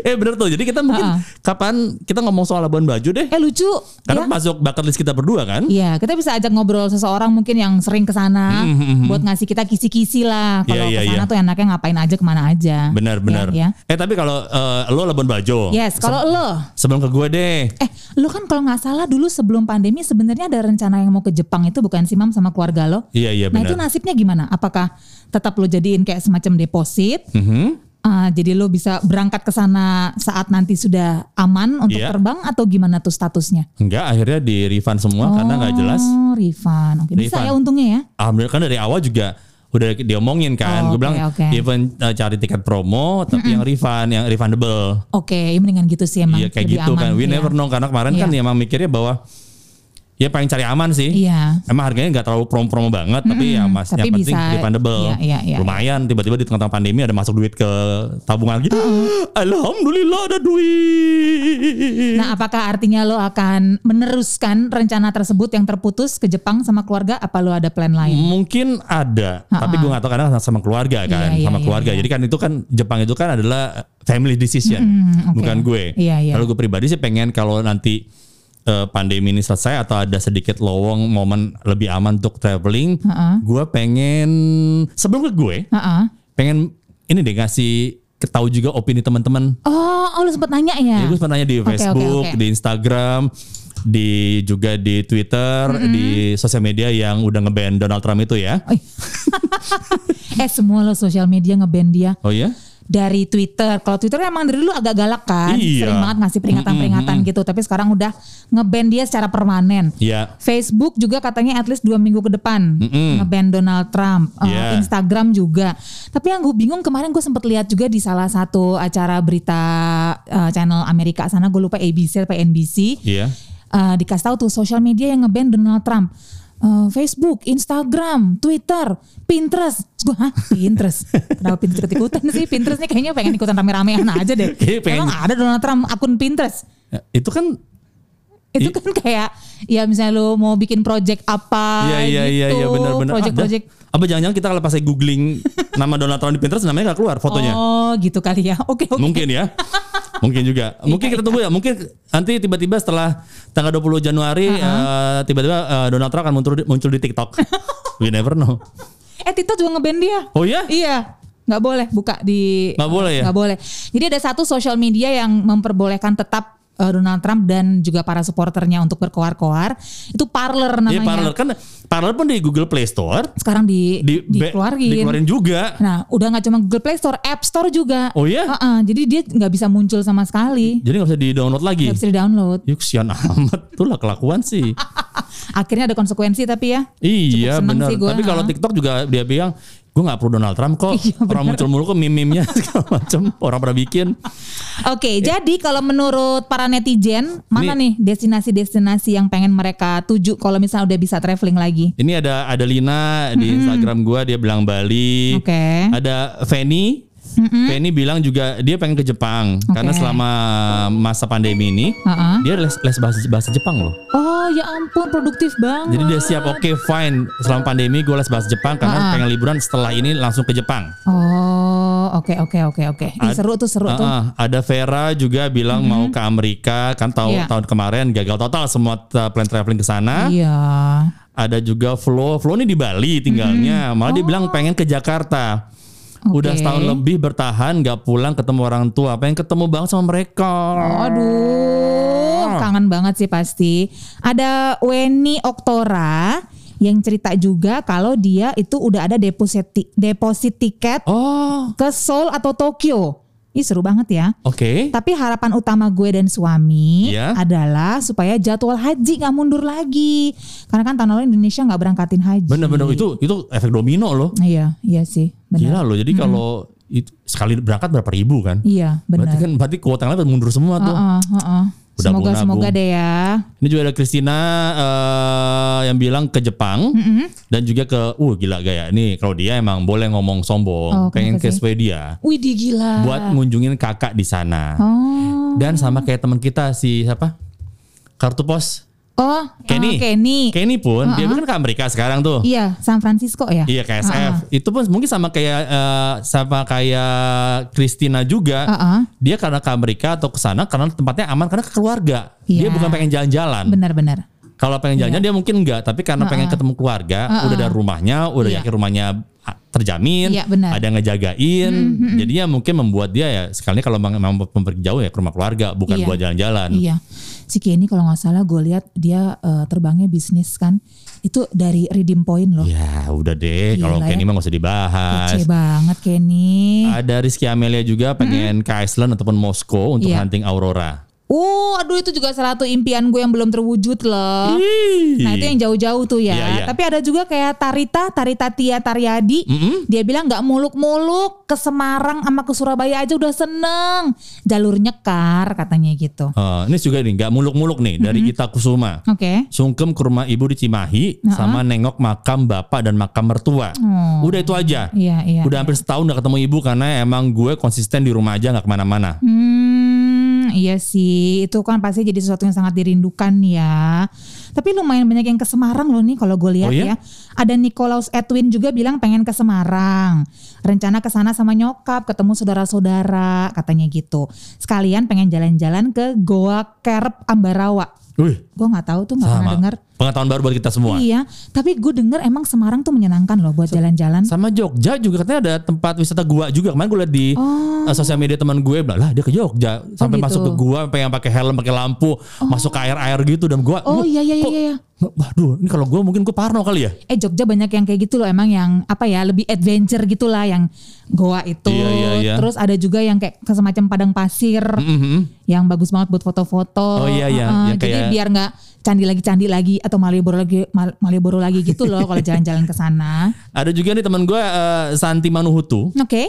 [SPEAKER 2] eh bener tuh. Jadi kita mungkin
[SPEAKER 3] Ah.
[SPEAKER 2] kapan kita ngomong soal Labuan Bajo deh.
[SPEAKER 3] Eh lucu.
[SPEAKER 2] Karena
[SPEAKER 3] ya.
[SPEAKER 2] masuk bucket list kita berdua kan.
[SPEAKER 3] Iya, kita bisa ajak ngobrol seseorang mungkin yang sering ke sana
[SPEAKER 2] Hmm,
[SPEAKER 3] buat ngasih kita kisi-kisi lah. Kalau
[SPEAKER 2] Iya, iya,
[SPEAKER 3] ke sana
[SPEAKER 2] iya.
[SPEAKER 3] tuh enaknya ngapain aja kemana aja.
[SPEAKER 2] Benar benar.
[SPEAKER 3] Ya,
[SPEAKER 2] Eh tapi kalau eh, lo Labuan Bajo.
[SPEAKER 3] ya. Yes, kalau lo
[SPEAKER 2] Sebelum ke gue deh.
[SPEAKER 3] Eh, lu kan kalau nggak salah dulu sebelum pandemi sebenarnya ada rencana yang mau ke Jepang itu bukan sih Mam sama keluarga lo?
[SPEAKER 2] Iya iya
[SPEAKER 3] Nah itu
[SPEAKER 2] benar.
[SPEAKER 3] nasibnya gimana? Apakah tetap lo jadiin kayak semacam deposit?
[SPEAKER 2] Mhm.
[SPEAKER 3] Ah, jadi lo bisa berangkat ke sana saat nanti sudah aman untuk
[SPEAKER 2] Iya.
[SPEAKER 3] terbang atau gimana tuh statusnya?
[SPEAKER 2] Enggak akhirnya di refund semua karena nggak jelas.
[SPEAKER 3] Oh, refund. Oke, bisa
[SPEAKER 2] Refund.
[SPEAKER 3] ya untungnya ya.
[SPEAKER 2] Alhamdulillah kan dari awal juga udah diomongin kan.
[SPEAKER 3] Oh,
[SPEAKER 2] gue bilang
[SPEAKER 3] oke, oke.
[SPEAKER 2] even eh, cari tiket promo tapi yang refund, yang refundable.
[SPEAKER 3] Oke, ya mendingan gitu sih emang.
[SPEAKER 2] Iya kayak
[SPEAKER 3] Lebih
[SPEAKER 2] gitu
[SPEAKER 3] aman
[SPEAKER 2] kan. We
[SPEAKER 3] gitu ya.
[SPEAKER 2] never know karena kemarin kan
[SPEAKER 3] Iya.
[SPEAKER 2] ya emang mikirnya bahwa ya pengen cari aman sih.
[SPEAKER 3] Iya.
[SPEAKER 2] Emang harganya nggak terlalu promo-promo banget, tapi ya mas
[SPEAKER 3] tapi
[SPEAKER 2] yang penting
[SPEAKER 3] bisa-
[SPEAKER 2] refundable.
[SPEAKER 3] iya, iya, iya.
[SPEAKER 2] Lumayan tiba-tiba di tengah-tengah pandemi ada masuk duit ke tabungan lagi. Alhamdulillah ada duit.
[SPEAKER 3] Nah, apakah artinya lo akan meneruskan rencana tersebut yang terputus ke Jepang sama keluarga? Apa lo ada plan lain?
[SPEAKER 2] Mungkin ada, tapi gue gak tahu karena sama keluarga kan,
[SPEAKER 3] Iya, iya,
[SPEAKER 2] sama
[SPEAKER 3] iya,
[SPEAKER 2] keluarga. Jadi kan itu kan Jepang itu kan adalah family decision,
[SPEAKER 3] Mm-mm, oke.
[SPEAKER 2] bukan gue.
[SPEAKER 3] Iya, iya.
[SPEAKER 2] Kalau gue pribadi sih pengen kalau nanti eh, pandemi ini selesai atau ada sedikit lowong momen lebih aman untuk traveling,
[SPEAKER 3] Ha-ha.
[SPEAKER 2] gue pengen sebelum ke gue
[SPEAKER 3] Heeh.
[SPEAKER 2] pengen ini deh ngasih ketahui juga opini teman-teman.
[SPEAKER 3] Oh, oh lu sempat nanya ya?
[SPEAKER 2] Jadi gue sempat nanya di
[SPEAKER 3] Oke,
[SPEAKER 2] Facebook,
[SPEAKER 3] oke, oke.
[SPEAKER 2] di Instagram, di juga di Twitter, di sosial media yang udah nge-ban Donald Trump itu ya.
[SPEAKER 3] Oi. Oh, eh semua lo sosial media ngeband dia
[SPEAKER 2] Oh iya?
[SPEAKER 3] dari Twitter. Kalau Twitter emang dari dulu agak galak kan,
[SPEAKER 2] Iya.
[SPEAKER 3] sering banget ngasih peringatan-peringatan gitu. Tapi sekarang udah ngeband dia secara permanen.
[SPEAKER 2] Iya.
[SPEAKER 3] Facebook juga katanya at least dua minggu ke depan
[SPEAKER 2] Mm-mm.
[SPEAKER 3] ngeband Donald Trump. Uh,
[SPEAKER 2] Iya.
[SPEAKER 3] Instagram juga. Tapi yang gue bingung kemarin gue sempet lihat juga di salah satu acara berita uh, channel Amerika sana gue lupa ABC atau NBC.
[SPEAKER 2] Iya.
[SPEAKER 3] Eh, dikasih tahu tuh social media yang nge-ban Donald Trump. Eh, Facebook, Instagram, Twitter, Pinterest. Terus Gue hah Pinterest. Kenapa Pinterest ikut-ikutan sih? Pinterest nih kayaknya pengen ikutan rame-ramean aja deh.
[SPEAKER 2] Kayaknya Iya, pengen-
[SPEAKER 3] Emang ada Donald Trump akun Pinterest?
[SPEAKER 2] Ya, Itu kan Iya.
[SPEAKER 3] Itu kan kayak ya misalnya lu mau bikin project apa
[SPEAKER 2] iya iya
[SPEAKER 3] gitu.
[SPEAKER 2] iya iya benar-benar.
[SPEAKER 3] Project-project.
[SPEAKER 2] Ada. Apa jangan-jangan kita kalau pas saya googling nama Donald Trump di Pinterest namanya nggak keluar fotonya.
[SPEAKER 3] Oh gitu kali ya. Oke oke. Iya.
[SPEAKER 2] Mungkin ya. Mungkin juga. Mungkin kita tunggu ya. Mungkin nanti tiba-tiba setelah tanggal 20 Januari
[SPEAKER 3] Uh-huh.
[SPEAKER 2] eh, tiba-tiba eh, Donald Trump akan muncul di, muncul di TikTok. We never know. Hmm.
[SPEAKER 3] Eh Tito juga ngeband dia.
[SPEAKER 2] Oh ya?
[SPEAKER 3] Iya. Nggak boleh buka di...
[SPEAKER 2] Nggak boleh ya?
[SPEAKER 3] Nggak boleh. Jadi ada satu social media yang memperbolehkan tetap eh, Donald Trump dan juga para supporternya untuk berkoar-koar. Itu parlor namanya.
[SPEAKER 2] Iya paralel kan paralel pun di Google Play Store
[SPEAKER 3] Sekarang di,
[SPEAKER 2] di
[SPEAKER 3] dikeluarin.
[SPEAKER 2] dikeluarin juga.
[SPEAKER 3] Nah udah nggak cuma Google Play Store, App Store juga.
[SPEAKER 2] Oh iya?
[SPEAKER 3] Heeh, jadi dia nggak bisa muncul sama sekali.
[SPEAKER 2] Jadi nggak bisa di-download lagi.
[SPEAKER 3] Nggak bisa di-download.
[SPEAKER 2] Yuk sian amat tuh lah kelakuan sih.
[SPEAKER 3] Akhirnya ada konsekuensi tapi ya.
[SPEAKER 2] Iya
[SPEAKER 3] seneng
[SPEAKER 2] benar.
[SPEAKER 3] sih gua,
[SPEAKER 2] Tapi kalau
[SPEAKER 3] ha.
[SPEAKER 2] TikTok juga dia bilang gue nggak perlu Donald Trump kok.
[SPEAKER 3] Iya, bener.
[SPEAKER 2] orang muncul mulu kok meme-memnya segala macam orang pada bikin.
[SPEAKER 3] Oke,
[SPEAKER 2] Iya.
[SPEAKER 3] jadi kalau menurut para netizen, mana
[SPEAKER 2] Nih.
[SPEAKER 3] nih destinasi-destinasi yang pengen mereka tuju kalau misalnya udah bisa traveling lagi?
[SPEAKER 2] Ini ada ada Lina di Instagram gua dia bilang Bali.
[SPEAKER 3] Oke.
[SPEAKER 2] Ada Feni. Feni bilang juga dia pengen ke Jepang karena selama masa pandemi ini
[SPEAKER 3] Ha-ha.
[SPEAKER 2] dia les les bahasa bahasa Jepang loh.
[SPEAKER 3] Oh ya ampun, produktif banget.
[SPEAKER 2] Jadi dia siap
[SPEAKER 3] Ah.
[SPEAKER 2] oke fine selama pandemi gue les bahasa Jepang karena pengen liburan setelah ini langsung ke Jepang.
[SPEAKER 3] Oh, oke oke oke oke. Ih,
[SPEAKER 2] Ad-
[SPEAKER 3] Seru tuh seru tuh.
[SPEAKER 2] Ah, ah. ada Vera juga bilang mau ke Amerika kan tahun
[SPEAKER 3] Iya.
[SPEAKER 2] tahun kemarin gagal total semua t- plan traveling ke sana.
[SPEAKER 3] Iya.
[SPEAKER 2] Ada juga Flo, Flo ini di Bali tinggalnya. Malah dia
[SPEAKER 3] Oh.
[SPEAKER 2] bilang pengen ke Jakarta. Udah
[SPEAKER 3] Oke.
[SPEAKER 2] setahun lebih bertahan gak pulang ketemu orang tua. Pengen ketemu banget sama mereka.
[SPEAKER 3] Aduh,
[SPEAKER 2] Ah.
[SPEAKER 3] kangen banget sih pasti. Ada Weni Oktora yang cerita juga kalau dia itu udah ada deposit ti- deposit tiket
[SPEAKER 2] Oh,
[SPEAKER 3] ke Seoul atau Tokyo. Ih seru banget ya.
[SPEAKER 2] oke.
[SPEAKER 3] Tapi harapan utama gue dan suami
[SPEAKER 2] Iya.
[SPEAKER 3] adalah supaya jadwal haji nggak mundur lagi. Karena kan tahun lalu Indonesia nggak berangkatin haji.
[SPEAKER 2] Bener-bener itu itu efek domino loh.
[SPEAKER 3] Iya, iya sih, benar.
[SPEAKER 2] Gila loh. Jadi kalau itu sekali berangkat berapa ribu kan?
[SPEAKER 3] Iya,
[SPEAKER 2] Berarti
[SPEAKER 3] benar. Oh.
[SPEAKER 2] kan berarti kuota yang lain mundur semua tuh.
[SPEAKER 3] Heeh, heeh.
[SPEAKER 2] Udah
[SPEAKER 3] Semoga
[SPEAKER 2] nabung-nabung.
[SPEAKER 3] semoga deh ya.
[SPEAKER 2] Ini juga ada Christina eh, yang bilang ke Jepang dan juga ke uh gila gaya. Nih kalau dia emang boleh ngomong sombong,
[SPEAKER 3] Oh,
[SPEAKER 2] pengen ke
[SPEAKER 3] kenapa sih?
[SPEAKER 2] Swedia
[SPEAKER 3] Widih gila.
[SPEAKER 2] buat ngunjungin kakak di sana.
[SPEAKER 3] Oh.
[SPEAKER 2] Dan sama kayak teman kita si siapa? Kartu pos.
[SPEAKER 3] Oh,
[SPEAKER 2] Kenny.
[SPEAKER 3] oh, Kenny.
[SPEAKER 2] Kenny pun dia kan ke Amerika sekarang tuh.
[SPEAKER 3] Iya, San Francisco ya.
[SPEAKER 2] Iya KSF.
[SPEAKER 3] Ah,
[SPEAKER 2] Itu pun mungkin sama kayak eh, sama kayak Christina juga.
[SPEAKER 3] Ah, ah.
[SPEAKER 2] Dia karena ke Amerika atau ke sana karena tempatnya aman karena ke keluarga. Dia
[SPEAKER 3] Iya.
[SPEAKER 2] bukan pengen jalan-jalan.
[SPEAKER 3] Benar-benar.
[SPEAKER 2] Kalau pengen jalan-jalan dia mungkin enggak, tapi karena pengen ketemu keluarga, udah ada rumahnya, udah
[SPEAKER 3] Iya.
[SPEAKER 2] yakin rumahnya ah, terjamin,
[SPEAKER 3] Iya, benar. Hmm,
[SPEAKER 2] ada yang ngejagain. Jadinya mungkin membuat dia ya sekalinya kalau memang memang pergi jauh ya ke rumah keluarga, bukan
[SPEAKER 3] Iya.
[SPEAKER 2] buat jalan-jalan.
[SPEAKER 3] Iya. Si Kenny kalau nggak salah gue lihat dia eh, terbangnya bisnis kan. Itu dari redeem point loh.
[SPEAKER 2] Ya, udah deh.
[SPEAKER 3] Gila
[SPEAKER 2] Kalau
[SPEAKER 3] ya.
[SPEAKER 2] Kenny mah gak usah dibahas.
[SPEAKER 3] Kece banget Kenny.
[SPEAKER 2] Ada Rizky Amelia juga pengen ke Iceland ataupun Moskow untuk
[SPEAKER 3] Iya.
[SPEAKER 2] hunting aurora.
[SPEAKER 3] Uh, aduh itu juga salah satu impian gue yang belum terwujud loh. Nah itu yang jauh-jauh tuh ya.
[SPEAKER 2] Iya, iya.
[SPEAKER 3] Tapi ada juga kayak Tarita, Tarita Tia Taryadi. Dia bilang nggak muluk-muluk ke Semarang sama ke Surabaya aja udah seneng. Jalur nyekar katanya gitu.
[SPEAKER 2] Eh, ini juga nih, nggak muluk-muluk nih dari
[SPEAKER 3] Mm-hmm.
[SPEAKER 2] Ita Kusuma.
[SPEAKER 3] Oke.
[SPEAKER 2] Sungkem ke rumah ibu di Cimahi sama nengok makam bapak dan makam mertua.
[SPEAKER 3] Oh.
[SPEAKER 2] Udah itu aja.
[SPEAKER 3] Iya iya.
[SPEAKER 2] Udah hampir setahun gak ketemu ibu karena emang gue konsisten di rumah aja nggak
[SPEAKER 3] Mm.
[SPEAKER 2] kemana-mana.
[SPEAKER 3] Hmm, iya sih. Itu kan pasti jadi sesuatu yang sangat dirindukan ya. Tapi lumayan banyak yang ke Semarang loh nih kalau gue lihat
[SPEAKER 2] Oh iya?
[SPEAKER 3] ya. Ada Nikolaus Edwin juga bilang pengen ke Semarang. Rencana ke sana sama nyokap, ketemu saudara-saudara, katanya gitu. Sekalian pengen jalan-jalan ke Goa Kerep Ambarawa.
[SPEAKER 2] Wih,
[SPEAKER 3] Gue nggak tahu tuh nggak pernah
[SPEAKER 2] sama.
[SPEAKER 3] dengar.
[SPEAKER 2] Pengetahuan baru buat kita semua.
[SPEAKER 3] Iya, tapi gue denger emang Semarang tuh menyenangkan loh buat jalan-jalan.
[SPEAKER 2] Sama Jogja juga katanya ada tempat wisata gua juga. Kemarin gue liat di
[SPEAKER 3] Oh.
[SPEAKER 2] eh, sosial media teman gue bilang lah dia ke Jogja sampai
[SPEAKER 3] gitu.
[SPEAKER 2] masuk ke gua sampai yang pakai helm, pakai lampu, masuk ke air-air gitu dan gua
[SPEAKER 3] Oh iya iya iya. iya.
[SPEAKER 2] "Nggak, waduh, ini kalau gua mungkin gue parno kali ya.
[SPEAKER 3] eh Jogja banyak yang kayak gitu loh emang yang apa ya lebih adventure gitulah yang goa itu
[SPEAKER 2] Iya, iya, iya.
[SPEAKER 3] terus ada juga yang kayak ke- semacam padang pasir
[SPEAKER 2] Mhm.
[SPEAKER 3] yang bagus banget buat foto-foto
[SPEAKER 2] Oh, iya, iya.
[SPEAKER 3] Heeh,
[SPEAKER 2] Yang
[SPEAKER 3] jadi
[SPEAKER 2] kayak-
[SPEAKER 3] biar nggak candi lagi candi lagi atau Malioboro lagi Mal- Malioboro lagi gitu loh kalau jalan-jalan ke sana
[SPEAKER 2] Ada juga nih teman gua eh, Santi Manuhutu,
[SPEAKER 3] oke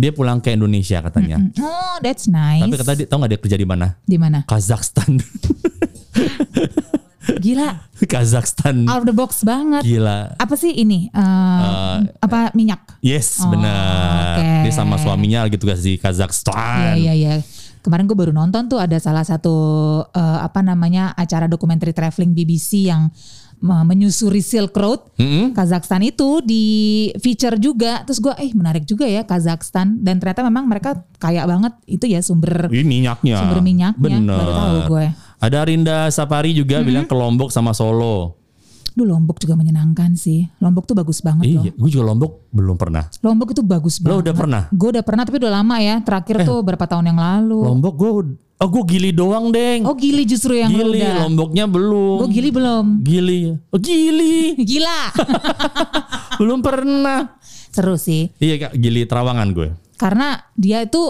[SPEAKER 2] dia pulang ke Indonesia katanya.
[SPEAKER 3] oh that's nice
[SPEAKER 2] Tapi katanya dia- tau gak dia kerja di mana?
[SPEAKER 3] di mana
[SPEAKER 2] Kazakhstan.
[SPEAKER 3] gila
[SPEAKER 2] Kazakhstan.
[SPEAKER 3] out of the box banget
[SPEAKER 2] Gila.
[SPEAKER 3] apa sih ini Eh, apa minyak
[SPEAKER 2] Yes,
[SPEAKER 3] Oh,
[SPEAKER 2] benar.
[SPEAKER 3] oke.
[SPEAKER 2] Dia sama suaminya lagi tugas di Kazakhstan.
[SPEAKER 3] Iya iya iya. Kemarin gue baru nonton tuh ada salah satu eh, apa namanya acara dokumenter traveling BBC yang me- menyusuri Silk Road. Kazakhstan itu di feature juga. Terus gue eh menarik juga ya Kazakhstan dan ternyata memang mereka kaya banget itu ya sumber
[SPEAKER 2] Ini minyaknya.
[SPEAKER 3] Sumber minyaknya,
[SPEAKER 2] Bener.
[SPEAKER 3] baru tahu ya. Mm-hmm. gue.
[SPEAKER 2] Ada Rinda Sapari juga bilang ke Lombok sama Solo.
[SPEAKER 3] Duh Lombok juga menyenangkan sih. Lombok tuh bagus banget loh.
[SPEAKER 2] Iya, gue juga Lombok belum pernah.
[SPEAKER 3] Lombok itu bagus banget.
[SPEAKER 2] Lo udah pernah?
[SPEAKER 3] Gue udah pernah tapi udah lama ya. Terakhir tuh berapa tahun yang lalu.
[SPEAKER 2] Lombok gue oh gue gili doang, Deng.
[SPEAKER 3] Oh Gili justru yang lu
[SPEAKER 2] gili,
[SPEAKER 3] udah.
[SPEAKER 2] Lomboknya belum.
[SPEAKER 3] Gue Gili belum.
[SPEAKER 2] Gili. Oh, gili.
[SPEAKER 3] Gila.
[SPEAKER 2] belum pernah.
[SPEAKER 3] Seru sih.
[SPEAKER 2] Iya, Kak, gili Terawangan gue.
[SPEAKER 3] karena dia itu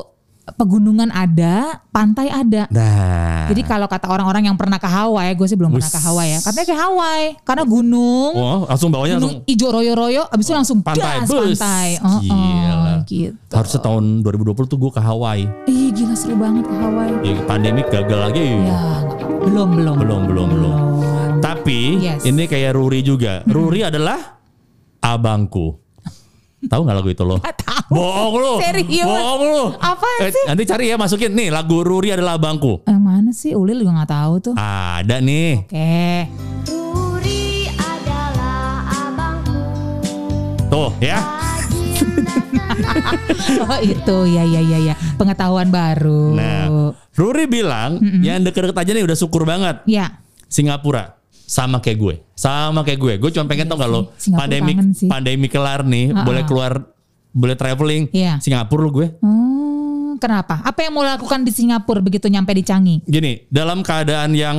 [SPEAKER 3] pegunungan ada, pantai ada.
[SPEAKER 2] Nah.
[SPEAKER 3] Jadi kalau kata orang-orang yang pernah ke Hawaii, gue sih belum pernah
[SPEAKER 2] Wus.
[SPEAKER 3] ke Hawaii ya. Katanya ke Hawaii karena gunung,
[SPEAKER 2] oh, langsung bawahnya langsung Oh,
[SPEAKER 3] gunung ijo royo-royo, abis itu langsung
[SPEAKER 2] pantai,
[SPEAKER 3] gas,
[SPEAKER 2] bus.
[SPEAKER 3] pantai. Oh, oh,
[SPEAKER 2] Gila.
[SPEAKER 3] gitu.
[SPEAKER 2] Harusnya tahun 2020 tuh gue ke Hawaii.
[SPEAKER 3] Ih gila seru banget ke Hawaii.
[SPEAKER 2] Ya, pandemi gagal lagi.
[SPEAKER 3] Ya nggak apa-apa. belum belum.
[SPEAKER 2] Belum, belum, belum. Tapi
[SPEAKER 3] Yes.
[SPEAKER 2] ini kayak Ruri juga. Ruri adalah abangku. Tahu nggak lagu itu lo?
[SPEAKER 3] tahu.
[SPEAKER 2] Bohong lo.
[SPEAKER 3] Serius?
[SPEAKER 2] Bohong lo.
[SPEAKER 3] Apaan sih?
[SPEAKER 2] Nanti cari ya masukin nih lagu Ruri adalah abangku.
[SPEAKER 3] Yang Eh, mana sih Ulil juga nggak tahu tuh.
[SPEAKER 2] Ah. Ada nih.
[SPEAKER 3] Oke.
[SPEAKER 4] Puri adalah abangku
[SPEAKER 2] Tuh ya.
[SPEAKER 4] Rajin naik
[SPEAKER 3] Oh itu ya ya ya ya pengetahuan baru.
[SPEAKER 2] Nah, Ruri bilang yang deket-deket aja nih udah syukur banget.
[SPEAKER 3] Ya.
[SPEAKER 2] Singapura sama kayak gue. Sama kayak gue. Gue cuma pengen tau kalau
[SPEAKER 3] Iya sih. Singapura
[SPEAKER 2] pandemi
[SPEAKER 3] kangen sih.
[SPEAKER 2] pandemi kelar nih, boleh keluar boleh traveling
[SPEAKER 3] Iya.
[SPEAKER 2] Singapura lu gue.
[SPEAKER 3] Hmm, kenapa? Apa yang mau lakukan di Singapura begitu nyampe di Changi?
[SPEAKER 2] gini dalam keadaan yang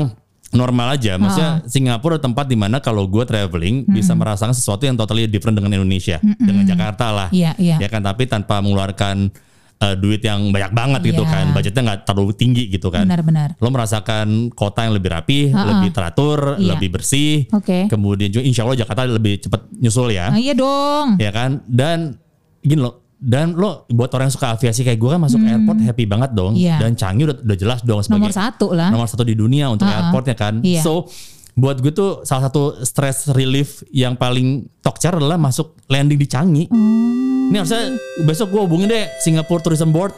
[SPEAKER 2] normal aja maksudnya Singapura tempat dimana kalau gue traveling bisa merasakan sesuatu yang totally different dengan Indonesia dengan Jakarta lah
[SPEAKER 3] Iya, iya.
[SPEAKER 2] ya kan tapi tanpa mengeluarkan eh, duit yang banyak banget gitu
[SPEAKER 3] Iya.
[SPEAKER 2] kan budgetnya nggak terlalu tinggi gitu kan
[SPEAKER 3] Benar-benar.
[SPEAKER 2] lo merasakan kota yang lebih rapi lebih teratur
[SPEAKER 3] Iya.
[SPEAKER 2] lebih bersih
[SPEAKER 3] Oke.
[SPEAKER 2] kemudian juga insya Allah Jakarta lebih cepat nyusul ya
[SPEAKER 3] Ah, iya dong.
[SPEAKER 2] ya kan dan gini loh dan lo buat orang yang suka aviasi kayak gue kan masuk airport happy banget dong
[SPEAKER 3] Hmm. Iya.
[SPEAKER 2] dan Changi udah, udah jelas dong sebagai
[SPEAKER 3] Nomor satu
[SPEAKER 2] iya.
[SPEAKER 3] lah.
[SPEAKER 2] nomor satu di dunia untuk
[SPEAKER 3] Uh-uh.
[SPEAKER 2] airportnya kan
[SPEAKER 3] Iya.
[SPEAKER 2] so buat gue tuh salah satu stress relief yang paling tokcer adalah masuk landing di Changi
[SPEAKER 3] Hmm.
[SPEAKER 2] Ini harusnya besok gue hubungin deh Singapore Tourism Board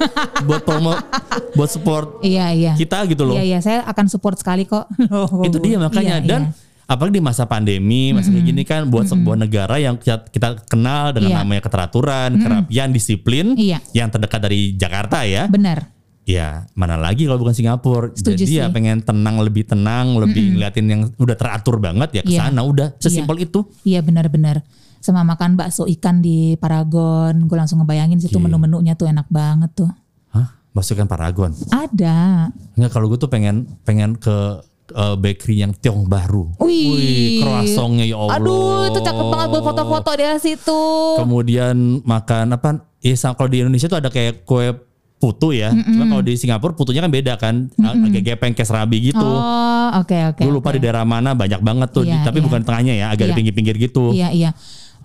[SPEAKER 2] buat promo, buat support
[SPEAKER 3] Iya iya.
[SPEAKER 2] kita gitu loh.
[SPEAKER 3] Iya iya, saya akan support sekali kok.
[SPEAKER 2] Itu dia makanya
[SPEAKER 3] Iya,
[SPEAKER 2] dan
[SPEAKER 3] iya.
[SPEAKER 2] apalagi di masa pandemi masa kayak gini kan buat sebuah negara yang kita, kita kenal dengan
[SPEAKER 3] Iya.
[SPEAKER 2] namanya keteraturan, kerapian, disiplin
[SPEAKER 3] Iya.
[SPEAKER 2] yang terdekat dari Jakarta ya.
[SPEAKER 3] benar.
[SPEAKER 2] Ya, mana lagi kalau bukan Singapura.
[SPEAKER 3] Setuju
[SPEAKER 2] Jadi ya
[SPEAKER 3] sih.
[SPEAKER 2] pengen tenang, lebih tenang, lebih ngeliatin yang udah teratur banget ya ke
[SPEAKER 3] Iya.
[SPEAKER 2] sana udah sesimpel itu.
[SPEAKER 3] Iya benar-benar. Sama makan bakso ikan di Paragon, gue langsung ngebayangin situ
[SPEAKER 2] Oke.
[SPEAKER 3] menu-menunya tuh enak banget tuh.
[SPEAKER 2] Hah? Masukkan Paragon.
[SPEAKER 3] Ada.
[SPEAKER 2] Enggak kalau gue tuh pengen pengen ke eh, bakery yang Tiong Baru.
[SPEAKER 3] Wih.
[SPEAKER 2] croissantnya ya Allah.
[SPEAKER 3] Aduh, itu cakep banget buat foto-foto daerah situ.
[SPEAKER 2] Kemudian makan apa? Ya sa- kalau di Indonesia tuh ada kayak kue putu ya. Cuma kalau di Singapura putunya kan beda kan, Ag- agak gepeng kayak serabi gitu.
[SPEAKER 3] Oh, oke oke.
[SPEAKER 2] Gue lupa
[SPEAKER 3] oke.
[SPEAKER 2] di daerah mana banyak banget tuh,
[SPEAKER 3] Iya,
[SPEAKER 2] tapi
[SPEAKER 3] iya.
[SPEAKER 2] bukan tengahnya ya, agak
[SPEAKER 3] Iya.
[SPEAKER 2] di pinggir-pinggir gitu.
[SPEAKER 3] Iya iya.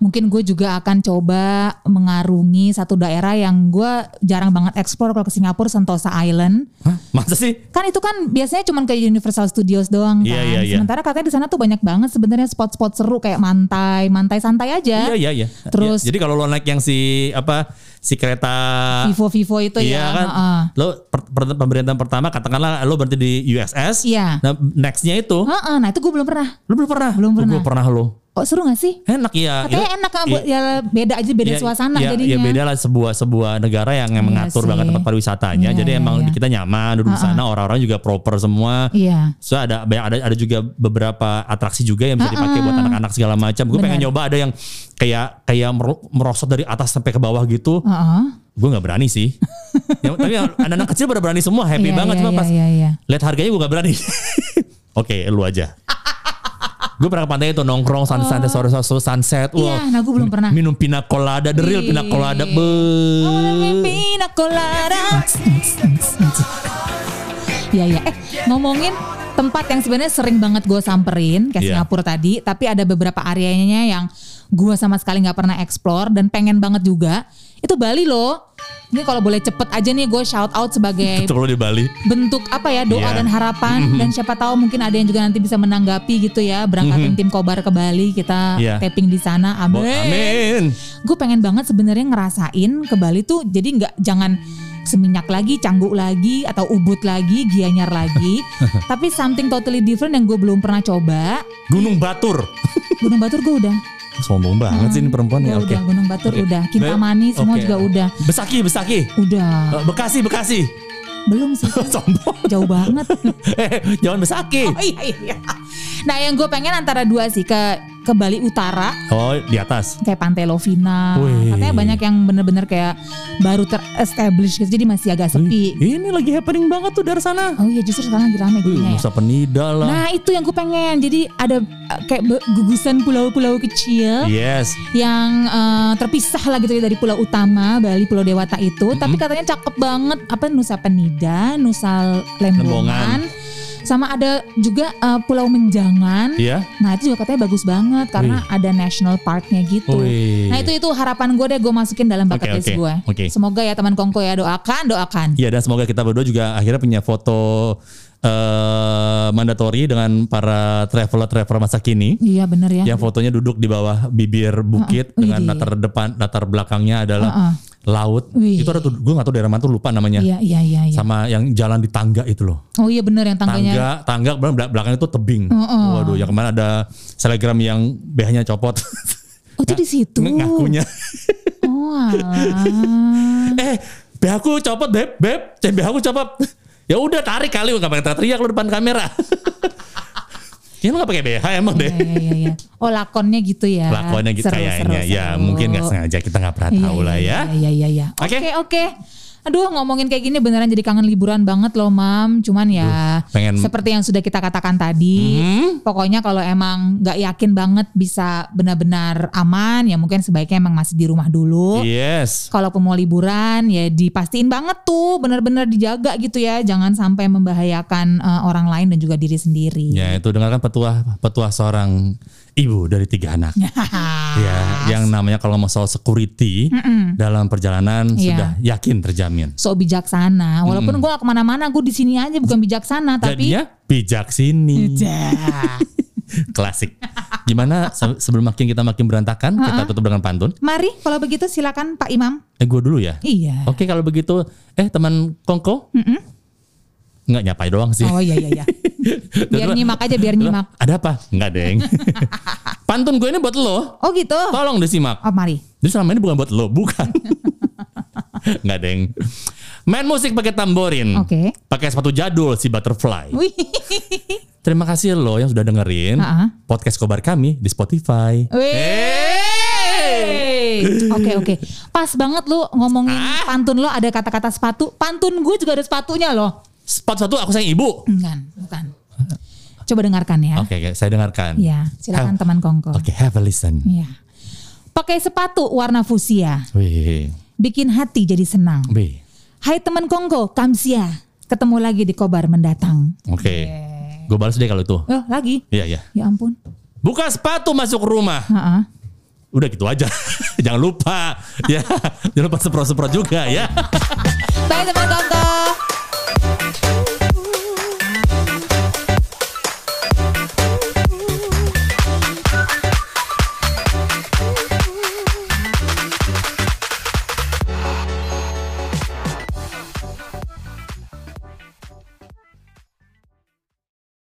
[SPEAKER 3] Mungkin gue juga akan coba mengarungi satu daerah yang gue jarang banget eksplor kalau ke Singapura Sentosa Island.
[SPEAKER 2] Hah? Masa sih?
[SPEAKER 3] Kan itu kan biasanya cuman ke Universal Studios doang kan.
[SPEAKER 2] Iya, iya, iya.
[SPEAKER 3] Sementara katanya di sana tuh banyak banget sebenarnya spot-spot seru kayak mantai, mantai santai aja.
[SPEAKER 2] Iya iya iya.
[SPEAKER 3] Terus-
[SPEAKER 2] Iya. jadi kalau lo naik yang si apa si kereta
[SPEAKER 3] Vivo-vivo itu
[SPEAKER 2] Iya
[SPEAKER 3] ya.
[SPEAKER 2] kan.
[SPEAKER 3] heeh.
[SPEAKER 2] Lo per- per- pemerintahan pertama katakanlah lo berarti di USS.
[SPEAKER 3] Iya.
[SPEAKER 2] Nah, nextnya itu
[SPEAKER 3] Heeh, Nah itu gue belum pernah.
[SPEAKER 2] lo belum pernah.
[SPEAKER 3] Belum pernah.
[SPEAKER 2] Gue pernah lo.
[SPEAKER 3] Oh seru gak sih?
[SPEAKER 2] Enak ya.
[SPEAKER 3] Katanya
[SPEAKER 2] Ya,
[SPEAKER 3] enak kan
[SPEAKER 2] iya,
[SPEAKER 3] buat- ya beda aja beda
[SPEAKER 2] iya,
[SPEAKER 3] suasana
[SPEAKER 2] iya,
[SPEAKER 3] jadinya.
[SPEAKER 2] Iya beda lah sebuah sebuah negara yang
[SPEAKER 3] Iya
[SPEAKER 2] mengatur
[SPEAKER 3] sih.
[SPEAKER 2] banget tempat pariwisatanya.
[SPEAKER 3] Iya,
[SPEAKER 2] Jadi
[SPEAKER 3] iya,
[SPEAKER 2] emang
[SPEAKER 3] iya.
[SPEAKER 2] kita nyaman duduk di sana orang-orang juga proper semua.
[SPEAKER 3] Iya.
[SPEAKER 2] So ada banyak ada ada juga beberapa atraksi juga yang bisa
[SPEAKER 3] Ha-ha.
[SPEAKER 2] dipakai buat anak-anak segala macam. Gue pengen
[SPEAKER 3] Benar.
[SPEAKER 2] nyoba ada yang kayak kayak mero- merosot dari atas sampai ke bawah gitu.
[SPEAKER 3] Heeh.
[SPEAKER 2] Gue nggak berani sih. Ya, tapi anak-anak kecil pada berani semua, happy
[SPEAKER 3] Iya,
[SPEAKER 2] banget
[SPEAKER 3] iya,
[SPEAKER 2] cuma
[SPEAKER 3] iya,
[SPEAKER 2] pas
[SPEAKER 3] iya, iya.
[SPEAKER 2] lihat harganya gue nggak berani. Oke, lu aja. gue pernah ke pantai itu nongkrong sunset sore sore sunset.
[SPEAKER 3] Oh. Iya, Oh,
[SPEAKER 2] Wah,
[SPEAKER 3] nah gue belum pernah.
[SPEAKER 2] minum pina colada, the real pina colada. Be.
[SPEAKER 3] Pina colada. Iya iya. Eh ngomongin tempat yang sebenarnya sering banget gue samperin kayak
[SPEAKER 2] Iya.
[SPEAKER 3] Singapura tadi, tapi ada beberapa areanya yang gue sama sekali nggak pernah explore dan pengen banget juga. Itu Bali loh. Ini kalau boleh cepet aja nih gue shout out sebagai
[SPEAKER 2] Itu kalau di Bali.
[SPEAKER 3] bentuk apa ya doa
[SPEAKER 2] Iya.
[SPEAKER 3] dan harapan dan siapa tahu mungkin ada yang juga nanti bisa menanggapi gitu ya berangkatin tim kobar ke Bali kita
[SPEAKER 2] Mm-hmm. Iya.
[SPEAKER 3] taping di sana
[SPEAKER 2] Bo-
[SPEAKER 3] amin,
[SPEAKER 2] Amin.
[SPEAKER 3] gue pengen banget sebenarnya ngerasain ke Bali tuh jadi nggak jangan seminyak lagi canggu lagi atau ubud lagi gianyar lagi tapi something totally different yang gue belum pernah coba
[SPEAKER 2] Gunung Batur.
[SPEAKER 3] Gunung Batur gue udah
[SPEAKER 2] Sombong banget sih ini perempuan ya.
[SPEAKER 3] Gua
[SPEAKER 2] Oke.
[SPEAKER 3] udah Iya, Gunung Batur
[SPEAKER 2] Oke.
[SPEAKER 3] udah Kintamani semua
[SPEAKER 2] Oke.
[SPEAKER 3] juga udah
[SPEAKER 2] Besaki, Besaki.
[SPEAKER 3] udah
[SPEAKER 2] Eh, Bekasi, Bekasi.
[SPEAKER 3] belum sih
[SPEAKER 2] Sombong.
[SPEAKER 3] jauh banget
[SPEAKER 2] eh, jangan Besaki.
[SPEAKER 3] Oh iya iya. Nah yang gue pengen antara dua sih ke ke Bali Utara
[SPEAKER 2] Oh, di atas.
[SPEAKER 3] kayak Pantai Lovina.
[SPEAKER 2] Wih.
[SPEAKER 3] Katanya banyak yang bener-bener kayak baru terestablish gitu jadi masih agak sepi.
[SPEAKER 2] Ini lagi happening banget tuh dari sana.
[SPEAKER 3] Oh iya justru sekarang lagi rame
[SPEAKER 2] Wih,
[SPEAKER 3] kayaknya ya.
[SPEAKER 2] Nusa Penida lah.
[SPEAKER 3] Nah itu yang gue pengen. Jadi ada eh, kayak be- gugusan pulau-pulau kecil
[SPEAKER 2] Yes.
[SPEAKER 3] yang eh, terpisah lah gitu ya dari pulau utama Bali Pulau Dewata itu. Tapi katanya cakep banget apa Nusa Penida, Nusa Lembongan. Sama ada juga eh, Pulau Menjangan.
[SPEAKER 2] Iya.
[SPEAKER 3] Nah itu juga katanya bagus banget karena ada national parknya gitu.
[SPEAKER 2] Wih.
[SPEAKER 3] Nah itu itu harapan gue deh gue masukin dalam bucket
[SPEAKER 2] Oke,
[SPEAKER 3] list
[SPEAKER 2] oke,
[SPEAKER 3] gue.
[SPEAKER 2] oke.
[SPEAKER 3] Semoga ya teman Kongko ya doakan doakan.
[SPEAKER 2] Iya dan semoga kita berdua juga akhirnya punya foto eh mandatory dengan para traveler-traveler masa kini.
[SPEAKER 3] Iya bener ya.
[SPEAKER 2] Yang fotonya duduk di bawah bibir bukit
[SPEAKER 3] Heeh.
[SPEAKER 2] dengan
[SPEAKER 3] Widih.
[SPEAKER 2] latar depan latar belakangnya adalah
[SPEAKER 3] Heeh.
[SPEAKER 2] laut.
[SPEAKER 3] Wih.
[SPEAKER 2] Itu ada tuh gue gak tahu daerah mana tuh lupa namanya.
[SPEAKER 3] Iya iya iya. iya.
[SPEAKER 2] Sama yang jalan di tangga itu loh.
[SPEAKER 3] Oh iya bener yang tangganya.
[SPEAKER 2] Tangga, tangga belakang- belakang itu tebing.
[SPEAKER 3] Heeh.
[SPEAKER 2] Waduh, yang kemarin ada selegram yang behnya copot.
[SPEAKER 3] Oh itu di situ.
[SPEAKER 2] Ngakunya.
[SPEAKER 3] Oh alah.
[SPEAKER 2] eh BH aku copot beb beb cek BH aku copot ya udah tarik kali nggak pakai teriak lu depan kamera ya lu nggak pakai BH emang deh
[SPEAKER 3] Iya iya iya, iya. Oh lakonnya gitu ya.
[SPEAKER 2] lakuannya gitu
[SPEAKER 3] Seru,
[SPEAKER 2] kayaknya
[SPEAKER 3] seru,
[SPEAKER 2] ya
[SPEAKER 3] seru.
[SPEAKER 2] mungkin nggak sengaja kita nggak pernah
[SPEAKER 3] Iya,
[SPEAKER 2] tahu
[SPEAKER 3] iya,
[SPEAKER 2] lah ya
[SPEAKER 3] Iya iya iya.
[SPEAKER 2] Oke.
[SPEAKER 3] Oke oke. Aduh ngomongin kayak gini beneran jadi kangen liburan banget loh mam. Cuman ya
[SPEAKER 2] Aduh, pengen- Mhm.
[SPEAKER 3] seperti yang sudah kita katakan tadi.
[SPEAKER 2] Hmm?
[SPEAKER 3] Pokoknya kalau emang nggak yakin banget bisa benar-benar aman ya mungkin sebaiknya emang masih di rumah
[SPEAKER 2] Iya.
[SPEAKER 3] dulu.
[SPEAKER 2] yes
[SPEAKER 3] Kalau mau liburan ya dipastiin banget tuh bener-bener dijaga gitu ya. Jangan sampai membahayakan eh, orang lain dan juga diri sendiri.
[SPEAKER 2] ya itu dengarkan petua petua seorang ibu dari tiga anak ya yang namanya kalau mau soal security dalam perjalanan
[SPEAKER 3] Iya.
[SPEAKER 2] sudah yakin terjamin
[SPEAKER 3] So bijaksana.
[SPEAKER 2] Hmm.
[SPEAKER 3] Walaupun gue gak kemana-mana gue di sini aja bukan bijaksana tapi
[SPEAKER 2] jadinya bijak sini
[SPEAKER 3] Dah.
[SPEAKER 2] Klasik. Gimana se- sebelum makin kita makin berantakan, kita tutup dengan pantun.
[SPEAKER 3] Mari kalau begitu silakan Pak Imam.
[SPEAKER 2] Eh gue dulu ya.
[SPEAKER 3] Iya.
[SPEAKER 2] Oke kalau begitu, eh teman Kongko? Nggak nyapai doang sih.
[SPEAKER 3] Oh iya iya iya. Biar
[SPEAKER 2] Terus-
[SPEAKER 3] nyimak aja biar nyimak.
[SPEAKER 2] Ada apa? Nggak deng. pantun gue ini buat lo.
[SPEAKER 3] Oh gitu.
[SPEAKER 2] Tolong disimak.
[SPEAKER 3] Oh mari.
[SPEAKER 2] Jadi selama ini bukan buat lo, bukan. Nggak deng. Main musik pakai tamborin.
[SPEAKER 3] Oke.
[SPEAKER 2] Pakai sepatu jadul si Butterfly.
[SPEAKER 3] Wih.
[SPEAKER 2] Terima kasih lo yang sudah dengerin
[SPEAKER 3] Ha-ha.
[SPEAKER 2] podcast kobar kami di Spotify.
[SPEAKER 3] Wih. Oke oke. Pas banget lu ngomongin
[SPEAKER 2] Ah.
[SPEAKER 3] pantun lo ada kata-kata sepatu. Pantun gue juga ada sepatunya loh.
[SPEAKER 2] Spot satu aku sayang ibu.
[SPEAKER 3] Bukan, bukan. Coba dengarkan ya.
[SPEAKER 2] Oke, oke, saya dengarkan.
[SPEAKER 3] Ya, silakan
[SPEAKER 2] Have-
[SPEAKER 3] teman Kongko.
[SPEAKER 2] Oke, have a listen.
[SPEAKER 3] Iya. Pakai sepatu warna fusia,
[SPEAKER 2] Wih,
[SPEAKER 3] bikin hati jadi senang.
[SPEAKER 2] wih.
[SPEAKER 3] Hai teman Kongko, Kamsia. Ketemu lagi di Kobar mendatang.
[SPEAKER 2] Oke. Gue balas deh kalau itu.
[SPEAKER 3] Oh, lagi.
[SPEAKER 2] Iya, iya.
[SPEAKER 3] Ya ampun.
[SPEAKER 2] Buka sepatu masuk rumah.
[SPEAKER 3] Ha-ha.
[SPEAKER 2] Udah gitu aja. Jangan lupa ya. Jangan lupa semprot-semprot juga ya.
[SPEAKER 3] Bye teman Kongko.